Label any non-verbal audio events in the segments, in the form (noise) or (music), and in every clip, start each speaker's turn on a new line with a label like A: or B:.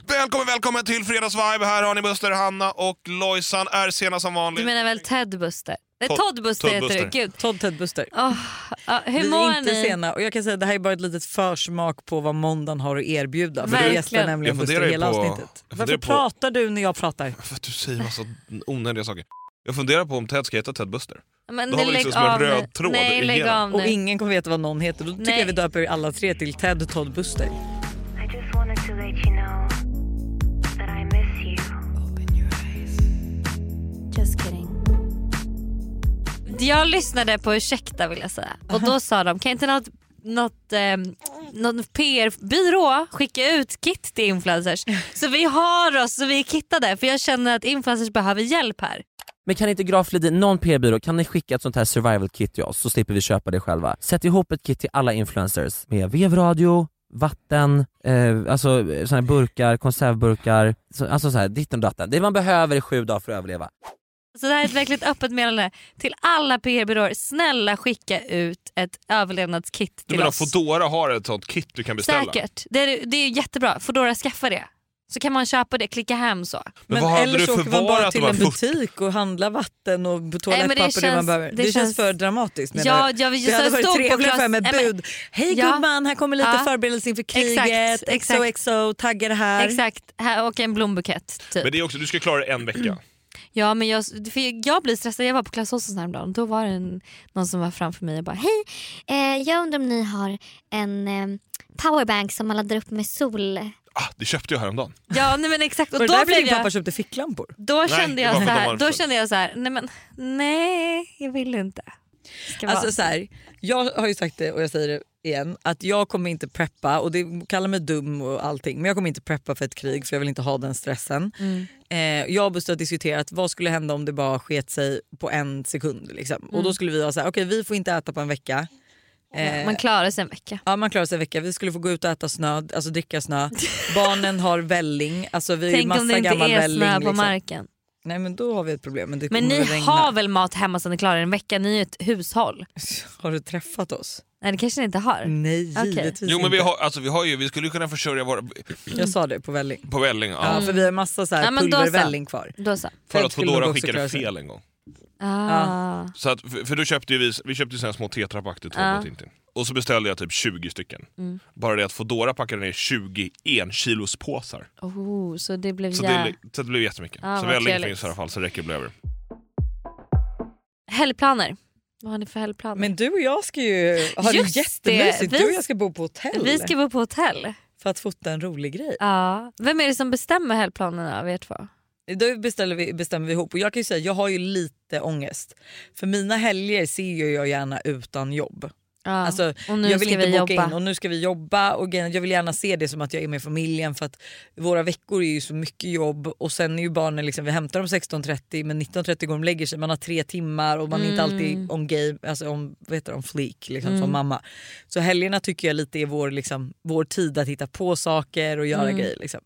A: Välkommen, välkommen till Fredagsvibe. Här har ni Buster, Hanna och Lojsan är sena som
B: Du
A: vanligt.
B: menar väl Ted Buster? Nej,
A: Todd-
B: Todd Buster
A: Todd
B: heter
A: Buster.
B: det. Gud.
C: Todd Ted Buster.
B: Åh, ja, hur
C: Vi
B: mår
C: är inte
B: ni?
C: sena och jag kan säga att det här är bara ett litet försmak på vad måndagen har att erbjuda. För
B: Verkligen.
C: du gästar
A: Jag
C: nämligen
A: funderar
C: Buster
A: ju
C: hela
A: på-
C: avsnittet.
A: jag funderar
C: Varför
A: på-
C: pratar du när jag pratar?
A: För att du säger massa onödiga saker. Jag funderar på om Ted ska heta Ted Buster.
B: Men
A: Då har vi
B: lägg
A: liksom som en
B: av nu.
A: röd tråd
B: Nej, lägg
A: igenom.
B: av nu.
C: Och ingen kommer veta vad någon heter. Då tycker
B: Nej.
C: jag vi döper er alla tre till Ted Todd Buster.
D: I just wanted to let you know that I miss you.
B: Just kidding. Jag lyssnade på Ursäkta vill jag säga och då sa de kan inte något, något, eh, någon PR-byrå skicka ut kit till
C: (laughs)
B: influencers så vi har oss så vi är kittade för jag känner att influencers behöver hjälp här.
E: Men kan inte Graf Ledin, någon PR-byrå, kan ni skicka ett sånt här survival kit till oss så slipper vi köpa det själva? Sätt ihop ett kit till alla influencers med vevradio, vatten, eh, alltså eh, såna här burkar, konservburkar, så, alltså så här, ditten och datten. Det man behöver i sju dagar för att överleva.
B: Så det här är ett
C: (laughs)
B: verkligt öppet meddelande till alla PR-byråer. Snälla skicka ut ett överlevnadskit till
A: Du menar
B: oss.
A: Foodora har ett sånt kit du kan beställa?
B: Säkert. Det är, det är jättebra. Foodora skaffa det. Så kan man köpa det, klicka hem så.
A: Men, vad hade
C: eller
A: du
C: så åker man bara
A: förvarat
C: till
A: de här
C: en
A: 40
C: butik och handlar vatten och toalettpapper
B: känns-
C: det, man behöver.
B: det
C: Det, känns,
B: känns-
C: för dramatiskt menar
B: Ja,
C: jag.
B: jag vill
C: Det hade varit trevligare för med
B: Nej, men-
C: bud. Hej
B: Ja.
C: gumman, här kommer lite
B: Ja.
C: förberedelse inför
B: Exakt,
C: kriget.
B: exakt.
C: XOXO, taggar här.
B: Exakt, här och en blombukett. Typ.
A: Men det är också, du ska klara det en
C: (clears throat)
A: vecka.
B: Ja, men jag, för jag blir stressad. Jag var på Clas Ohlsons häromdagen. Då var det en, någon som var framför mig och bara hej.
F: Eh, jag undrar om ni har en eh, powerbank som man laddar upp med sol...
A: Ah, det köpte jag häromdagen.
B: Ja, nej, men exakt. Och
C: Var det
B: då,
C: därför
B: blev
C: din pappa
B: jag,
C: köpte ficklampor?
B: då,
A: Nej,
B: kände
A: det
B: jag
A: var
B: så
A: för
B: här,
A: gammalt.
B: då kände jag så här, nej men nej, jag vill inte. Ska vara.
C: Alltså så här, jag har ju sagt det och jag säger det igen att jag kommer inte preppa och det kallar mig dum och allting men jag kommer inte preppa för ett krig för jag vill inte ha den stressen.
B: Mm.
C: Eh, jag och Buster har diskuterat vad skulle hända om det bara sket sig på en sekund liksom. och
B: Mm.
C: då skulle vi ha så här, okej vi får inte äta på en vecka. Eh,
B: Man klarar sig en vecka.
C: Ja man klarar sig en vecka, vi skulle få gå ut och äta snö, alltså
B: (laughs)
C: dricka snö. Barnen har välling, alltså vi är ju
B: Tänk
C: massa
B: om det inte
C: gammal
B: är
C: välling.
B: snö på
C: liksom.
B: marken.
C: Nej men då har vi ett problem. Men, det
B: Men
C: kommer
B: ni
C: väl regna.
B: har väl mat hemma som ni klarar en vecka? Ni är ju ett hushåll.
C: Har du träffat oss?
B: Nej det kanske ni inte har.
C: Nej
B: Okej.
C: givetvis
A: Jo men
C: inte.
A: vi, har, alltså, vi, har ju, vi skulle ju kunna försörja våra...
C: Jag sa det på välling.
A: På välling. Ja.
C: Ja, för vi har massa så här
B: Mm. Ja, men då
C: pulvervälling kvar.
B: Då så.
A: För
C: Fred
A: att
C: skulle
A: Foodora
C: nog också
A: skickade
C: klara sig.
A: fel en gång.
B: Ah.
A: Så att, för, för då köpte ju vi, vi köpte ju såna här små tetrapack till
B: Ja. Mm.
A: Tobbe och Tintin. Och så beställde jag typ 20 stycken. Bara det att Foodora packade ner 20 enkilospåsar.
B: Oh, så det blev
A: Så,
B: jä-
A: det, så det blev jättemycket.
B: Ja,
A: så
B: vad
A: välling
B: trevligt.
A: finns i alla fall så det räcker det bli över.
B: Helgplaner. Vad har ni för helgplaner?
C: Men du och jag ska ju ha
B: Just
C: det
B: det,
C: jättemysigt.
B: vi-
C: Du och jag ska bo på hotell
B: Vi ska bo på hotell.
C: för att fota en rolig grej.
B: Ja. Vem är det som bestämmer helgplanerna av er två?
C: Då beställer vi, bestämmer vi ihop och jag kan ju säga jag har ju lite ångest. För mina helger ser ju jag gärna utan jobb.
B: Ja.
C: Alltså,
B: och nu
C: jag vill
B: ska
C: inte
B: vi
C: boka
B: jobba.
C: in och nu ska vi jobba och grejen är att jag vill gärna se det som att jag är med familjen för att våra veckor är ju så mycket jobb och sen är ju barnen liksom, vi hämtar dem 16.30 men 19.30 går de och lägger sig, man har tre timmar och man är inte
B: Mm.
C: alltid on game, alltså om, vad heter det, on fleek liksom, som mamma. Så helgerna tycker jag lite är vår, liksom, vår tid att hitta på saker och
B: Mm.
C: göra grejer. Liksom.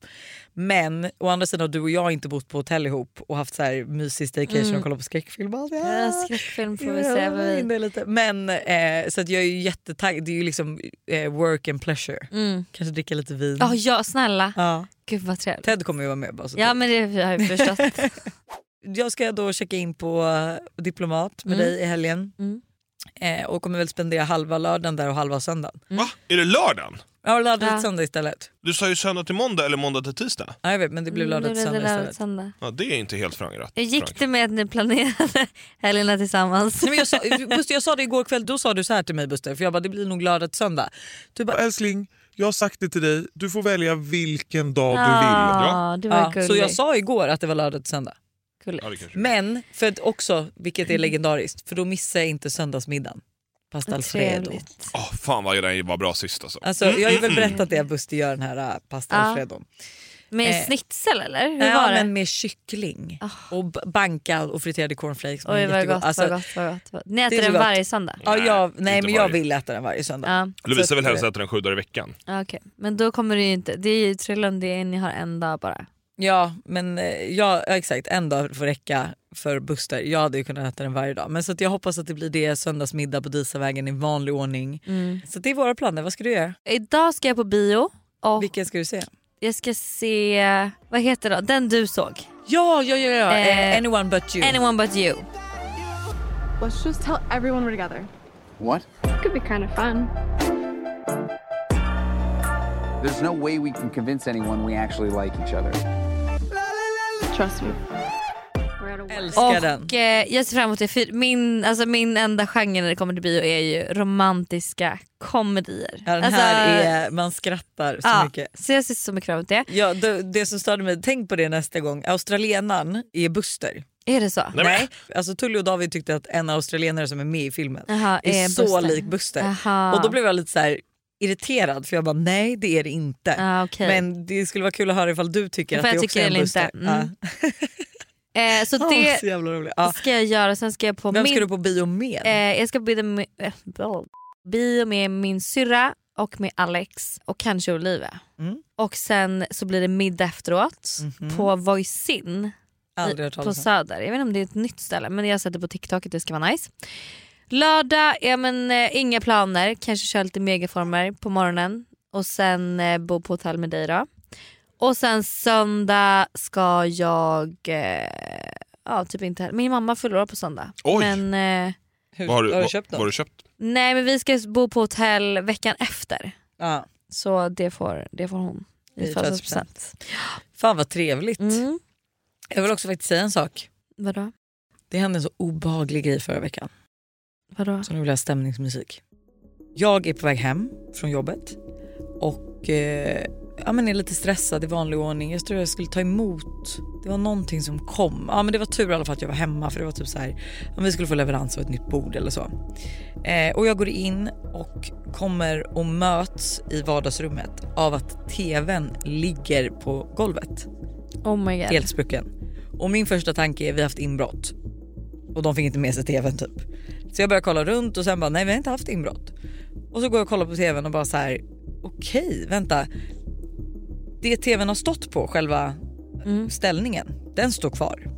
C: Men å andra sidan har du och jag inte bott på hotell ihop och haft så här mysig staycation och kollat på skräckfilm. och allt.
B: Mm. Ja,
C: Ah.
B: skräckfilm får
C: Jo,
B: vi
C: jag
B: se.
C: var
B: vad vi...
C: inne lite. Men eh, så att jag är ju jättetaggad. Det är ju liksom eh, work and pleasure.
B: Mm.
C: Kanske dricka lite vin.
B: Ja, ja, snälla.
C: Ja.
B: Gud vad trevligt.
C: Ted kommer ju vara med bara. Så
B: Ja
C: att-
B: men det har jag förstått.
C: Jag ska då checka in på eh, Diplomat med
B: Mm.
C: dig i helgen.
B: Mm.
C: Eh, och kommer väl spendera halva lördagen där och halva söndagen.
B: Mm.
A: Va? Är det lördagen?
C: Ja, lördag
B: Ja.
C: till söndag istället.
A: Du sa ju söndag till måndag eller måndag till tisdag.
C: Ja, jag vet, men (laughs) det blir lördag till
B: Mm, det
C: söndag
B: blev lördag till
C: istället.
B: söndag.
A: Ja, det är inte helt förankrat.
B: Hur gick
A: förankrat.
B: det med att ni planerade (laughs) helgerna tillsammans?
C: Nej, men jag, sa, Buster, jag sa det igår kväll, då sa du så här till mig Buster, för jag bara det blir nog lördag till söndag. Du bara,
G: Älskling, jag har sagt det till dig. Du får välja vilken dag du vill.
B: Ja, det var
C: ja.
B: gulligt.
C: Så jag sa igår att det var lördag till söndag.
B: gulligt.
A: Ja, det kanske.
C: Men för att också, vilket är legendariskt, för då missar jag inte söndagsmiddagen. Pasta alfredo.
B: Trevligt.
A: Åh, fan vad den var bra sist alltså.
C: Alltså, jag har ju väl berättat det, att Buster gör den här äh, pasta
B: Ja.
C: alfredo.
B: Med
C: Eh,
B: snitsel eller? Hur
C: Ja,
B: var det? Ah.
C: men med kyckling och b- bankad och friterade cornflakes. men
B: Oj vad
C: jättegott.
B: gott,
C: Alltså,
B: vad gott, vad gott. vad- Ni
C: är
B: äter
C: så
B: den
C: gott.
B: varje söndag?
C: Ja, jag,
A: Nej,
C: nej,
A: inte
C: men jag
A: varje.
C: vill äta den varje söndag.
B: Ja,
A: Lovisa
C: så
A: vill
C: att-
A: helst äta den sju dagar i veckan.
B: ja, okej. Men då kommer det ju inte, det är ju Trillund, det är ni har en dag bara.
C: Ja, men eh, ja, ja, exakt. En dag får räcka för Buster. Jag hade ju kunnat äta den varje dag. Men så att jag hoppas att det blir det söndagsmiddag på Disavägen i
B: Mm.
C: vanlig ordning. Så det är våra planer. Vad ska du göra?
B: Idag ska jag på bio och
C: Vilken ska du se?
B: Jag ska se, vad heter den? Den du såg.
C: Ja, ja, ja. ja.
B: Eh,
C: Eh, anyone but you.
B: Anyone but you.
H: Let's just tell everyone we're together.
I: What?
H: Could be kind of fun.
I: There's no way we can convince anyone we actually like each other.
H: Trust me. We're at a wedding.
C: Älskar den.
B: Och eh, jag ser fram emot det. För Min, alltså min enda genre när det kommer till bio är ju romantiska komedier.
C: Ja, den
B: alltså,
C: här är, man skrattar så
B: ja,
C: mycket.
B: Så jag ser så mycket fram emot det.
C: Ja, det, det som störde mig, tänk på det nästa gång. Australienaren är Buster.
B: Är det så?
A: Nej, men,
C: Alltså Tully och David tyckte att en australienare som är med i filmen
B: Jaha,
C: är,
B: är
C: så
B: eh, Buster.
C: lik Buster.
B: Aha.
C: Och då blev jag lite så här irriterad för jag bara nej det är det inte.
B: Ah, okej.
C: Men det skulle vara kul att höra ifall du tycker
B: För
C: att det
B: jag
C: också
B: tycker
C: är en
B: det
C: Buster.
B: inte. Mm.
C: Ja.
B: eh,
C: (laughs)
B: så
C: Det...
B: det
C: så jävla roligt. Ja.
B: ska jag göra. Sen ska jag på
C: Vem
B: min...
C: ska du på bio med?
B: eh, jag ska bjuda med, eh, blah, bio med min syrra och med Alex och kanske Olivia.
C: Mm.
B: Och sen så blir det middag efteråt
C: Mhm.
B: på Voisin
C: Aldrig hört
B: på
C: talas om.
B: Söder. Jag vet inte om det är ett nytt ställe men jag har sett det på TikTok att det ska vara nice. Lördag, ja men eh, inga planer. Kanske köra lite megaformer på morgonen och sen eh, bo på hotell med dig då. Och sen söndag ska jag, eh, ja typ inte heller. Min mamma fyller år på söndag.
A: Oj.
B: Men, eh,
C: Hur,
A: vad har du,
C: har du köpt
A: vad, vad har
C: något?
A: du köpt?
B: nej men vi ska bo på hotell veckan efter.
C: Ja.
B: Så det får, det får hon
C: I
B: i födelsedagspresent.
C: Fan vad trevligt.
B: Mm.
C: Jag vill också faktiskt säga en sak.
B: Vadå?
C: Det hände en så obehaglig grej förra veckan.
B: Vadå?
C: Så nu vill jag ha stämningsmusik. Jag är på väg hem från jobbet och eh, ja, men är lite stressad i vanlig ordning. Jag tror jag skulle ta emot. Det var någonting som kom. Ja, men det var tur i alla fall att jag var hemma för det var typ så här. Om vi skulle få leverans av ett nytt bord eller så. Eh, och jag går in och kommer och möts i vardagsrummet av att tvn ligger på golvet
B: Oh my god.
C: helt sprucken. Och min första tanke är vi har haft inbrott. Och de fick inte med sig tvn typ. Så jag börjar kolla runt och sen bara nej vi har inte haft inbrott. Och så går jag och kollar på tvn och bara så här okej vänta. Det tvn har stått på själva ställningen den står kvar.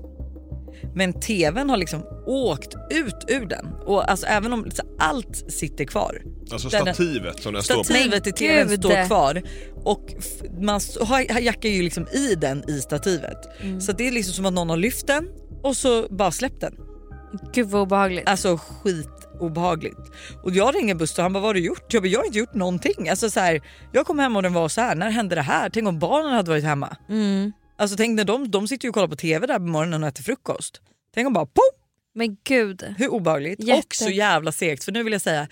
C: Men tvn har liksom åkt ut ur den och alltså även om så allt sitter kvar.
A: Alltså
C: Den-
A: stativet som den står på.
C: Stativet i tvn
B: Gud.
C: står kvar och f- man s- har- jackar ju liksom i den i stativet.
B: Mm.
C: Så det är liksom som att någon har lyft den och så bara släppt den.
B: Gud vad obehagligt.
C: Alltså skitobehagligt. Och jag ringer Buster och han bara vad har du gjort? Jag bara jag har inte gjort någonting. Alltså så här, jag kom hem och den var så här. när hände det här? Tänk om barnen hade varit hemma.
B: Mm.
C: Alltså tänk när de, de sitter ju och kollar på tv där på morgonen och äter frukost. Tänk om bara pop!
B: Men gud.
C: Hur obehagligt
B: Jätte.
C: och så jävla segt. För nu vill jag säga,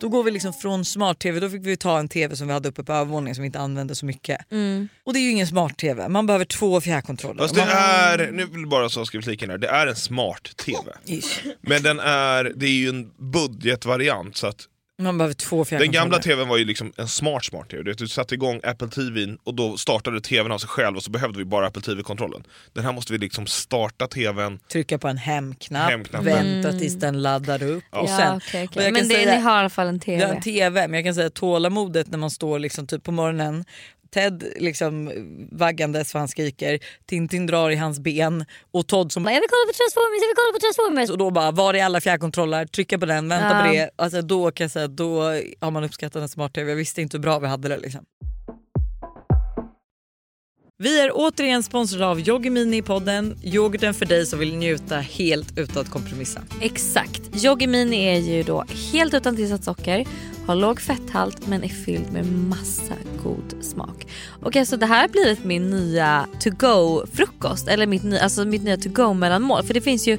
C: då går vi liksom från smart-tv, då fick vi ta en tv som vi hade uppe på övervåningen som vi inte använde så mycket.
B: Mm.
C: Och det är ju ingen smart-tv, man behöver två fjärrkontroller.
A: Fast det
C: man...
A: är, nu vill jag bara så ska vi flika in här, det är en smart-tv.
C: Ish.
A: Men den är, det är ju en budgetvariant så att
C: man behöver två
A: Den
C: fjärrkontroller.
A: gamla tvn var ju liksom en smart smart tv. Du vet, Du satte igång Apple TVn och då startade tvn av sig själv och så behövde vi bara Apple TV-kontrollen. Den här måste vi liksom starta tvn.
C: Trycka på en hemknapp,
A: Hemknappen.
C: vänta tills den laddar upp. Och sen,
B: Mm. ja, okej, okej.
C: och jag
B: Men
C: kan
B: det,
C: säga-
B: ni har i alla fall en TV.
C: Jag har en TV, men jag kan säga tålamodet när man står liksom typ på morgonen Ted liksom vaggandes för han skriker, Tintin drar i hans ben och Todd som
F: Bara, Jag vill kolla på Transformers, jag vill kolla på Transformers.
C: och då bara var är alla fjärrkontroller, trycka på den, vänta
B: Ja.
C: på det. Alltså då kan jag säga att då har man uppskattat en smart-tv. Jag visste inte hur bra vi hade det liksom. Vi är återigen sponsrade av Yoggi Mini i podden. Yoghurten för dig som vill njuta helt utan att kompromissa.
B: Exakt. Yoggi Mini är ju då helt utan tillsatt socker, har låg fetthalt men är fylld med massa god smak. Och alltså det här har blivit min nya to-go-frukost, eller mitt, ny- alltså mitt nya to-go-mellanmål. För det finns ju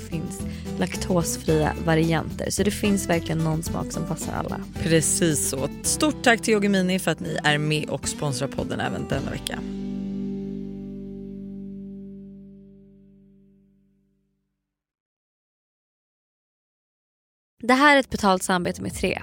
B: finns laktosfria varianter. Så det finns verkligen någon smak som passar alla.
C: Precis så. Stort tack till Yoggi Mini för att ni är med och sponsrar podden även denna vecka.
B: Det här är ett betalt samarbete med Tre.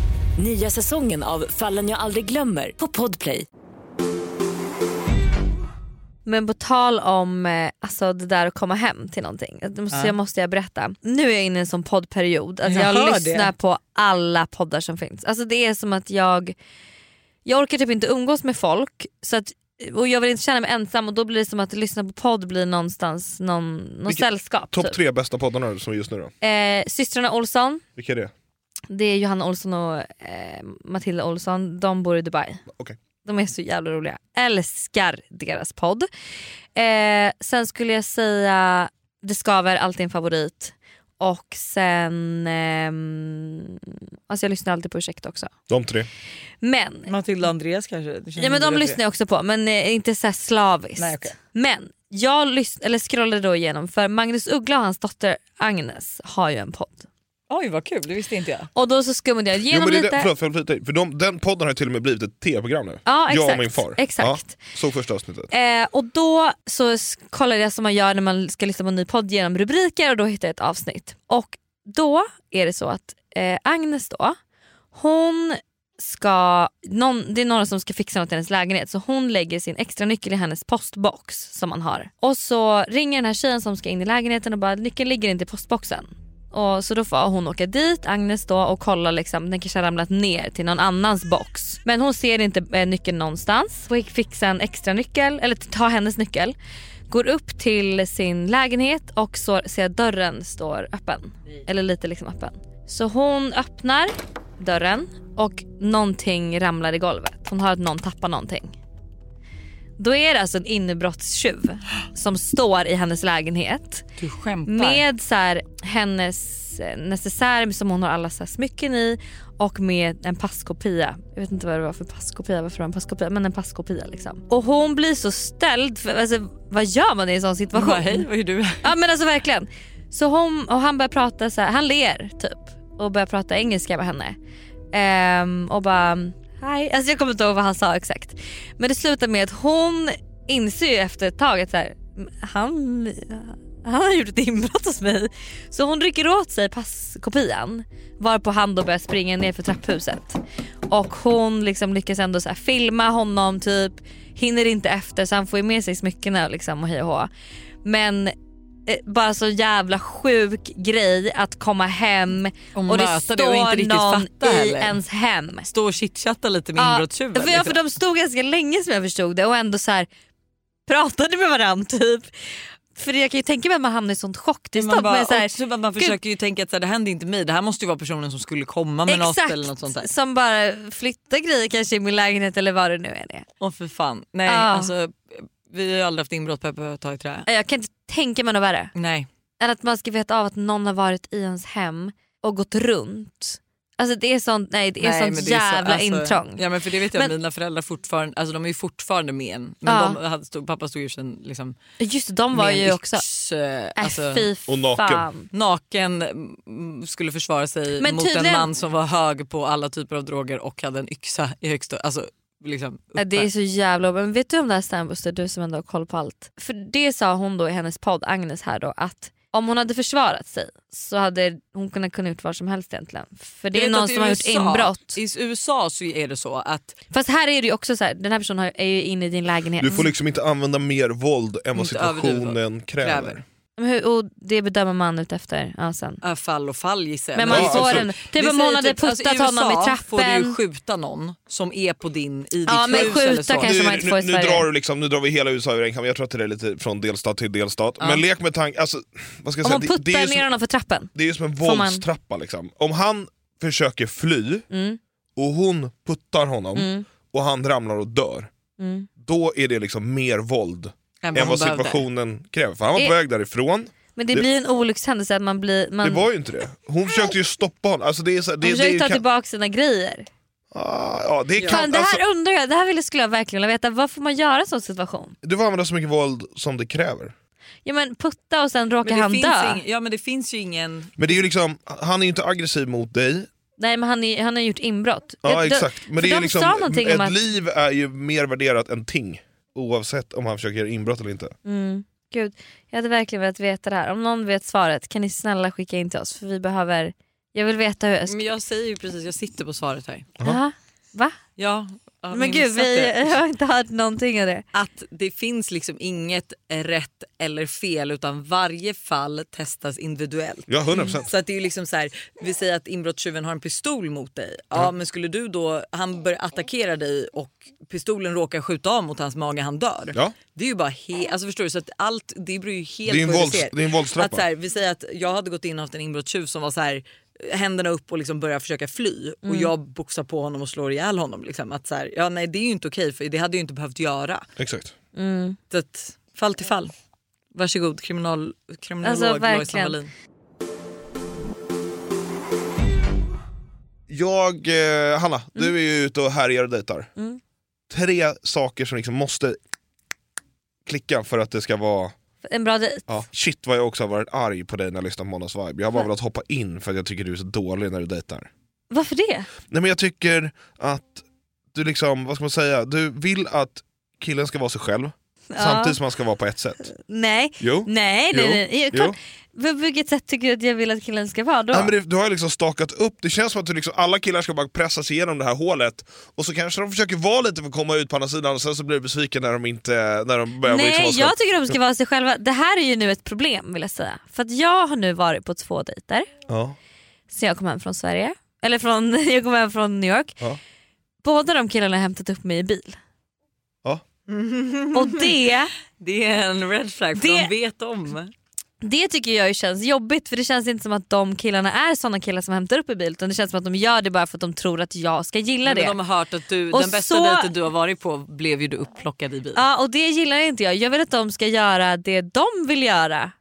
J: Nya säsongen av Fallen jag aldrig glömmer på Podplay.
B: Men på tal om eh, alltså det där att komma hem till någonting, det måste,
C: Ja.
B: jag måste jag berätta. Nu är jag inne i en sån poddperiod, alltså
C: Jag
B: jag,
C: hör
B: lyssnar
C: det.
B: på alla poddar som finns. Alltså det är som att jag, jag orkar typ inte umgås med folk så att, och jag vill inte känna mig ensam och då blir det som att lyssna på podd blir någonstans någon, någon
A: Vilket-
B: sällskap.
A: Topp
B: typ.
A: tre bästa poddarna som är just nu då?
B: Eh, systrarna Olsson,
A: Vilka är det?
B: det är Johanna Olsson och eh, Matilda Olsson, de bor i Dubai.
A: Okej.
B: De är så jävla roliga. Älskar deras podd. Eh, sen skulle jag säga Det skaver, alltid en favorit. Och sen... ehm, alltså jag lyssnar alltid på Ursäkta också.
A: De tre.
B: Men
C: Matilda och Andreas kanske? Det känns
B: Ja men de
C: som det är
B: lyssnar jag också på men eh, inte så här slaviskt.
C: Nej, okej.
B: Men jag lyssn- eller scrollade då igenom för Magnus Uggla och hans dotter Agnes har ju en podd.
C: Oj vad kul, det visste inte jag.
B: Och då så skummade jag
A: Jo,
B: igenom
A: men det är
B: lite.
A: det, förlåt, förlåt, förlåt, för de, den podden har ju till och med blivit ett tv-program nu.
B: Ja,
A: jag
B: exakt,
A: och min far.
B: exakt.
A: Ja, såg första avsnittet.
B: Eh, och då så s- kollade jag som man gör när man ska lyssna på en ny podd genom rubriker och då hittade jag ett avsnitt. Och då är det så att eh, Agnes då, hon ska, någon, det är några som ska fixa något i hennes lägenhet så hon lägger sin extra nyckel i hennes postbox som man har. Och så ringer den här tjejen som ska in i lägenheten och bara nyckeln ligger inte i postboxen. Och så då får hon åka dit, Agnes då, och kolla liksom, den kanske har ramlat ner till någon annans box. Men hon ser inte eh, nyckeln någonstans. Hon fick fixa en extra nyckel, eller ta hennes nyckel. Går upp till sin lägenhet och så ser att dörren står öppen. Eller lite liksom öppen. Så hon öppnar dörren och någonting ramlar i golvet. Hon hör att någon tappar någonting. Då är det alltså en inbrottstjuv som står i hennes lägenhet
C: Du skämtar?
B: med så här, hennes eh, necessär som hon har alla så här smycken i och med en passkopia. Jag vet inte vad det var för passkopia, varför det var en passkopia, men en passkopia liksom. Och hon blir så ställd, för, alltså, vad gör man i en sån
C: Vad
B: situation?
C: skönt. Hej, vad är du?
B: Ja men alltså verkligen. Så hon, och han börjar prata så här, han ler typ och börjar prata engelska med henne. Ehm, och bara hi. Alltså jag kommer inte ihåg vad han sa exakt. Men det slutar med att hon inser ju efter ett tag att så här, han, han har gjort ett inbrott hos mig. Så hon rycker åt sig passkopian varpå han då börjar springa ner för trapphuset. Och hon liksom lyckas ändå så här filma honom typ, hinner inte efter så han får ju med sig smyckena liksom och hej och hå. Men eh, bara så jävla sjuk grej att komma hem
C: Och
B: och det
C: möta
B: står
C: det och inte riktigt
B: någon
C: fatta
B: i
C: heller.
B: ens hem.
C: Stå och chitchatta lite med
B: Ja,
C: inbrottstjuven. liksom.
B: För, ja, för de stod ganska länge som jag förstod det och ändå så här pratade med varandra typ. För jag kan ju tänka mig att man hamnar i sånt chocktillstånd.
C: man,
B: Men
C: bara,
B: så här,
C: och typ att man
B: gud.
C: försöker ju tänka att så här, det händer inte mig, det här måste ju vara personen som skulle komma med något eller något sånt där.
B: som bara flyttar grejer kanske i min lägenhet eller vad det nu är. Det.
C: Åh för fan. Nej
B: Ja.
C: alltså vi har ju aldrig haft inbrott Peppe och ta i trä.
B: Jag kan inte tänka mig något värre.
C: Nej.
B: Än att man ska veta av att någon har varit i ens hem och gått runt. Alltså det är sånt, nej, det är sånt
C: men det är så-
B: jävla
C: alltså,
B: intrång.
C: Ja men för det vet jag
B: Men-
C: mina föräldrar fortfarande, alltså de är ju fortfarande med en. Men
B: Ja.
C: de hade stod, pappa stod ju sen liksom
B: Just det, de var
C: med en
B: ju också...
C: yx, eh,
B: Äh,
C: alltså,
B: fy Och naken. fan.
C: Naken mm, skulle försvara sig
B: Men
C: mot en
B: tydligen-
C: man som var hög på alla typer av droger och hade en yxa i högsta, alltså liksom uppe.
B: Ja, Äh, Det är så jävla Men vet du om det här Stanbuster, du som ändå har koll på allt. För det sa hon då i hennes podd, Agnes här då, att om hon hade försvarat sig så hade hon kunnat kunna ut vad som helst egentligen. För
C: Jag
B: det är
C: vet
B: någon
C: att i
B: som har gjort
C: USA
B: inbrott.
C: I USA så är det så att
B: Fast här är det ju också så här, den här personen har- är ju inne i din lägenhet.
A: Du får liksom inte använda mer våld än vad
C: Inte överdriva våld.
A: situationen kräver.
C: Kräver.
B: Men hur, och det bedömer man ut efter. Ja, sen.
C: äh, fall och fall gissar jag.
B: Men man
A: alltså,
C: det
B: får
C: är så-
B: en- typ
C: Vi
B: om hon
C: säger alltså,
B: hade puttat
C: i
B: honom i
C: USA får du ju
B: trappen.
C: skjuta någon som är på din, i ditt
B: Ja, men
C: hus eller
B: skjuta
C: så.
B: kanske man inte får i
A: nu, nu,
B: Sverige.
A: drar du liksom, nu drar vi hela USA över en kam. Jag tror att det är lite från delstat till delstat.
B: Ja.
A: Men lek med tanken, alltså, vad ska jag
B: Om
A: säga?
B: hon
A: Det-
B: puttar
A: det är ju
B: ner
A: som-
B: honom för trappen.
A: Det är ju som en
B: Får man-
A: våldstrappa liksom. Om han försöker fly
B: Mm.
A: och hon puttar honom
B: Mm.
A: och han ramlar och dör,
B: Mm.
A: då är det liksom mer våld
C: än
A: än
C: hon
A: vad
C: behövde.
A: situationen kräver. För han var på
B: Är-
A: väg därifrån,
B: Men det,
A: Det-
B: blir en olyckshändelse att man blir... Man,
A: det var ju inte det. Hon försökte ju stoppa honom. Alltså det är så,
B: man
A: det, det,
B: försöker
A: är ju
B: ta
A: kan,
B: tillbaka sina grejer.
A: ah, ja, det, kan,
B: Fan, det
A: alltså,
B: här undrar jag, det här vill- skulle jag verkligen vilja veta. Vad får man göra i en sån situation?
A: du får använda så mycket våld som det kräver.
B: Ja men putta och sen råkar
C: Men det
B: han
C: finns
B: dö.
C: ing- ja men det finns ju ingen...
A: Men det är ju liksom, han är ju inte aggressiv mot dig,
B: Nej men han, är, han har gjort inbrott.
A: Ja
B: Jag- då-
A: exakt,
B: för
A: men det är
B: de sa
A: liksom,
B: någonting
A: ett
B: om att...
A: liv är ju mer värderat än ting oavsett om han försöker göra inbrott eller inte.
B: Mm, gud, jag hade verkligen velat veta det här. Om någon vet svaret kan ni snälla skicka in till oss för vi behöver... Jag vill veta hur jag ska...
C: Men jag säger ju precis, jag sitter på svaret här.
B: Jaha. Va?
C: Ja, ja, ni
B: men gud,
C: missat
B: vi,
C: det.
B: jag (laughs) har inte hört någonting av det.
C: Att det finns liksom inget rätt eller fel utan varje fall testas individuellt.
A: Ja 100%.
C: Så att det är ju liksom så här, vi säger att inbrottstjuven har en pistol mot dig. Ja, men skulle du då, han börjar attackera dig och pistolen råkar skjuta av mot hans mage, han dör.
B: Mm.
A: Ja.
C: Det är ju bara helt, alltså förstår du, så att allt, det beror ju helt
A: Det är en
C: på hur du
A: vålds-
C: ser.
A: det är en våldstrappa.
C: Att så här, vi säger att jag hade gått in och haft en inbrottstjuv som var så här händerna upp och liksom börjar försöka fly
B: Mm.
C: och jag boxar på honom och slår ihjäl honom. Liksom. Att så här, ja, nej, det är ju inte okej för det hade jag ju inte behövt göra.
A: Exakt.
B: Mm.
C: Så att, fall till fall. Varsågod kriminal, kriminolog
B: Alltså,
C: Lojsan
B: verkligen.
C: Wallin.
A: Jag, eh, Hanna, du är ju ute och härjar och dejtar.
B: Mm.
A: Tre saker som liksom måste klicka för att det ska vara...
B: En bra dejt.
A: Ja. Shit vad jag också har varit arg på dig när jag lyssnat på Månads vibe. Jag har bara velat hoppa in för att jag tycker du är så dålig när du dejtar.
B: Varför det?
A: Nej men jag tycker att du liksom, vad ska man säga, du vill att killen ska vara sig själv
B: Ja.
A: samtidigt som han ska vara på ett sätt.
B: Nej,
A: Jo.
B: nej, nej.
A: Jo.
B: nej. Ja, klart. På vilket sätt tycker du att jag vill att killen ska vara då?
A: Nej, men det, du har ju liksom stakat upp, det känns som att du liksom, alla killar ska bara pressa sig igenom det här hålet och så kanske de försöker vara lite för att komma ut på andra sidan och sen så blir du besviken när de inte när de börjar liksom
B: Nej,
A: vara
B: jag tycker de ska vara sig själva. Det här är ju nu ett problem vill jag säga. För att jag har nu varit på två dejter
A: ja.
B: sen jag kom hem från Sverige. Eller från, (laughs) jag kom hem från New York.
A: Ja.
B: Båda de killarna har hämtat upp mig i bil.
A: Ja.
B: Och det,
C: Det är en red flag för
B: Det-
C: de vet om.
B: det tycker jag ju känns jobbigt för det känns inte som att de killarna är sådana killar som hämtar upp i bil utan det känns som att de gör det bara för att de tror att jag ska gilla
C: Nej,
B: det.
C: Men de har hört att du,
B: Och
C: den bästa
B: så-
C: dejten du har varit på blev ju du upplockad i bil.
B: Ja och det gillar inte jag. Jag vill att de ska göra det de vill göra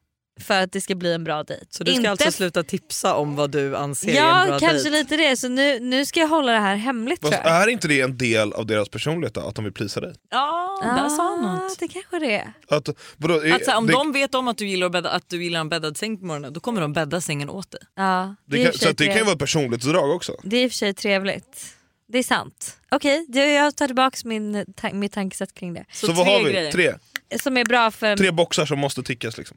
B: för att det ska bli en bra dejt.
C: Så du ska
B: Inte
C: alltså sluta tipsa om vad du anser är en
B: Ja
C: bra
B: kanske
C: dejt.
B: lite det. Så nu, nu ska jag hålla det här hemligt
A: Fast
B: tror jag.
A: är inte det en del av deras personlighet då, att de vill plisa dig?
C: Ja, där sa han något.
B: Ah, det kanske det är.
A: Att, vadå, är-
B: Alltså,
C: Att så här, om
A: Eh, det,
C: de vet om att du gillar att, bädda, att du gillar en bäddad säng på morgonen då kommer de bädda sängen åt dig.
B: Ja,
A: det
B: det, är i
A: kan,
B: och för
A: så
B: sig
A: att det kan ju
B: trevligt.
A: vara ett personlighetsdrag också.
B: Det är i och för sig trevligt. Det är sant. Okej, det- jag tar tillbaka min, ta- mitt tankesätt kring det.
A: Så, vad
C: tre
A: har vi?
C: grejer.
A: Tre,
B: Som är bra för...
A: tre boxar som måste tickas. Liksom.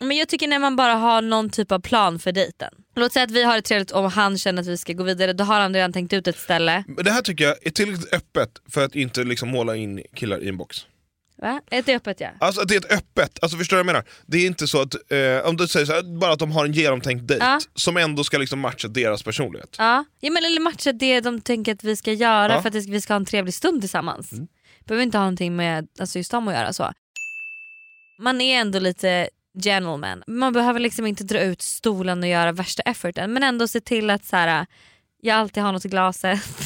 B: Men jag tycker när man bara har någon typ av plan för dejten. Låt säga att vi har det trevligt och han känner att vi ska gå vidare. Då har han redan tänkt ut ett ställe.
A: Men det här tycker jag är tillräckligt öppet för att inte liksom måla in killar i en box.
B: Va? Är det öppet ja?
A: Alltså att det är ett öppet, alltså förstår du vad jag menar? Det är inte så att, eh, om du säger så här, bara att de har en genomtänkt dejt
B: Ja.
A: som ändå ska liksom matcha deras personlighet.
B: Ja, ja men eller matcha det de tänker att vi ska göra
A: Ja.
B: för att det ska- vi ska ha en trevlig stund tillsammans.
C: Mm.
B: Behöver inte ha någonting med alltså, just dem att göra så. Man är ändå lite gentleman. Man behöver liksom inte dra ut stolen och göra värsta efforten men ändå se till att så här, jag alltid har något i glaset. (laughs)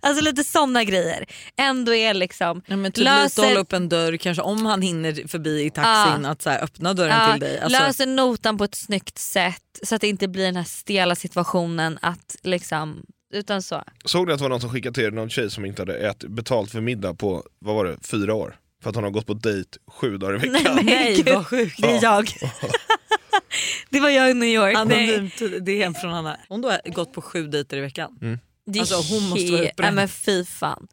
B: Alltså lite sådana grejer. Ändå är liksom...
C: Ja, men typ löser... lite hålla upp en dörr, kanske om han hinner förbi i taxin ja. att så här, öppna dörren
B: Ja,
C: till dig. Alltså,
B: Löser notan på ett snyggt sätt så att det inte blir den här stela situationen att liksom... Utan så.
A: Såg ni att det var någon som skickade till er någon tjej som inte hade ätit betalt för middag på, vad var det, fyra år? För att hon har gått på dejt sju dagar i veckan.
C: Nej vad sjukt.
B: Det är jag.
C: (laughs)
B: det var jag i New York. Nej.
C: Anonymt DM från Anna. Hon då har gått på sju dejter i veckan.
A: Mm.
B: Det är
C: Alltså, hon måste vara
B: he- Nej,
C: utbränd.
B: men fy fan.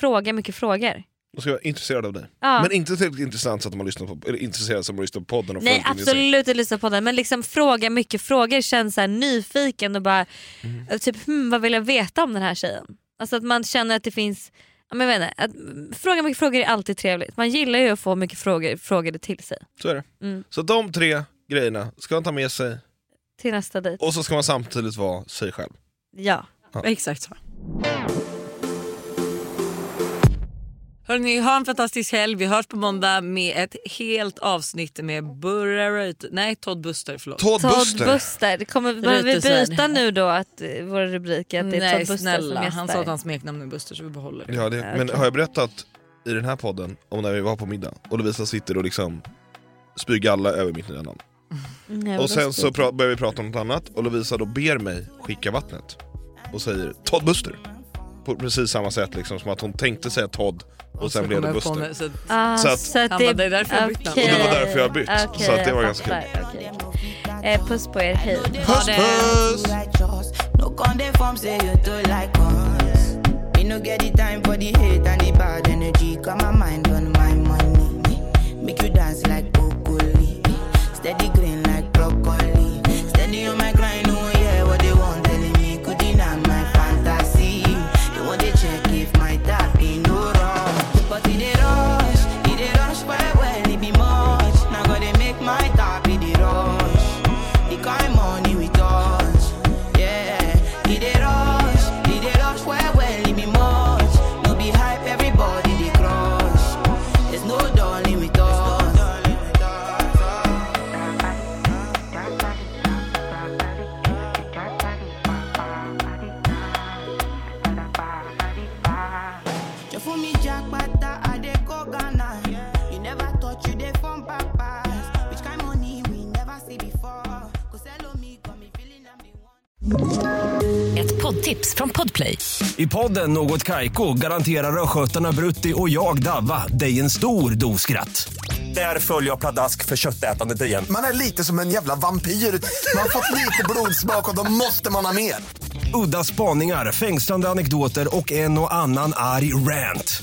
B: Fråga mycket frågor.
A: De ska vara intresserade av dig.
B: Ja.
A: Men inte tillräckligt intressant så att de har lyssnat på, eller intresserade så att de har lyssnat på podden. Och
B: Nej
A: följt din Instagram.
B: absolut inte lyssna på den men liksom fråga mycket frågor. Känn så här nyfiken och bara
C: Mm.
B: typ hmm, vad vill jag veta om den här tjejen? Alltså att man känner att det finns, ja, men jag vet inte, att mm, fråga mycket frågor är alltid trevligt. Man gillar ju att få mycket frågor frågade till sig.
A: Så är det.
B: Mm.
A: Så de tre grejerna ska man ta med sig
B: Till nästa dejt.
A: och så ska man samtidigt vara sig själv.
B: Ja.
A: Ja.
C: Exakt så. Hörrni, ha en fantastisk helg. Vi hörs på måndag med ett helt avsnitt med Burra Röt- Nej, Todd Buster. Förlåt.
A: Todd
B: Todd
A: Buster.
B: Buster. Kommer, behöver vi
C: Rytesvärd.
B: byta nu då att eh, vår rubrik är att det är
C: Nej,
B: Todd Buster
C: snälla.
B: som gästar?
C: Han sa att hans smeknamn är Buster så vi behåller det.
A: Ja, det, Men
B: okej.
A: har jag berättat i den här podden om när vi var på middag och Lovisa sitter och liksom spyr galla över mitt nya namn.
B: Nej,
A: Och sen
B: vad
A: så pra- börjar vi prata om något annat och Lovisa då ber mig skicka vattnet och säger Todd Buster. På precis samma sätt liksom, som att hon tänkte säga Todd och, sen blev det Buster.
C: så att,
B: Ah,
A: Så att-
C: Han bara, "Det är därför jag har bytt namn."
A: Och det var därför jag har bytt,
B: Okej,
A: så att det
B: jag
A: var ganska
B: fattar. Okej. Eh, puss på er, hej.
A: Puss, puss!
K: No condemn form say you do like us. Me no get the time for the hate and the bad energy. Got my mind on my money. Make you dance like broccoli. Steady green like broccoli. Steady on my grind, no one hear what they want telling me. Could deny my fantasy. They want to check if my tap ain't no wrong. But it they rush, it they rush well, well, it be much. Now gotta make my tap, it they rush. The kind money we touch. Yeah, did they rush? Did they rush? Well, well, it be much. No be hype, everybody they crush. There's no darling with us. You for me jackpata, I dey go Ghana. You never touch, you dey form papas. Which kind money we never see before? Cause hello me, got me feeling I'm the one.
J: Ett poddtips från Podplay.
L: I podden Något Kaiko garanterar östgötarna Brutti och jag, Davva, dig en stor dos skratt. Där följer jag pladask för köttätandet igen.
M: Man är lite som en jävla vampyr. Man har fått lite blodsmak och då måste man ha mer.
L: Udda spaningar, fängslande anekdoter och en och annan arg rant.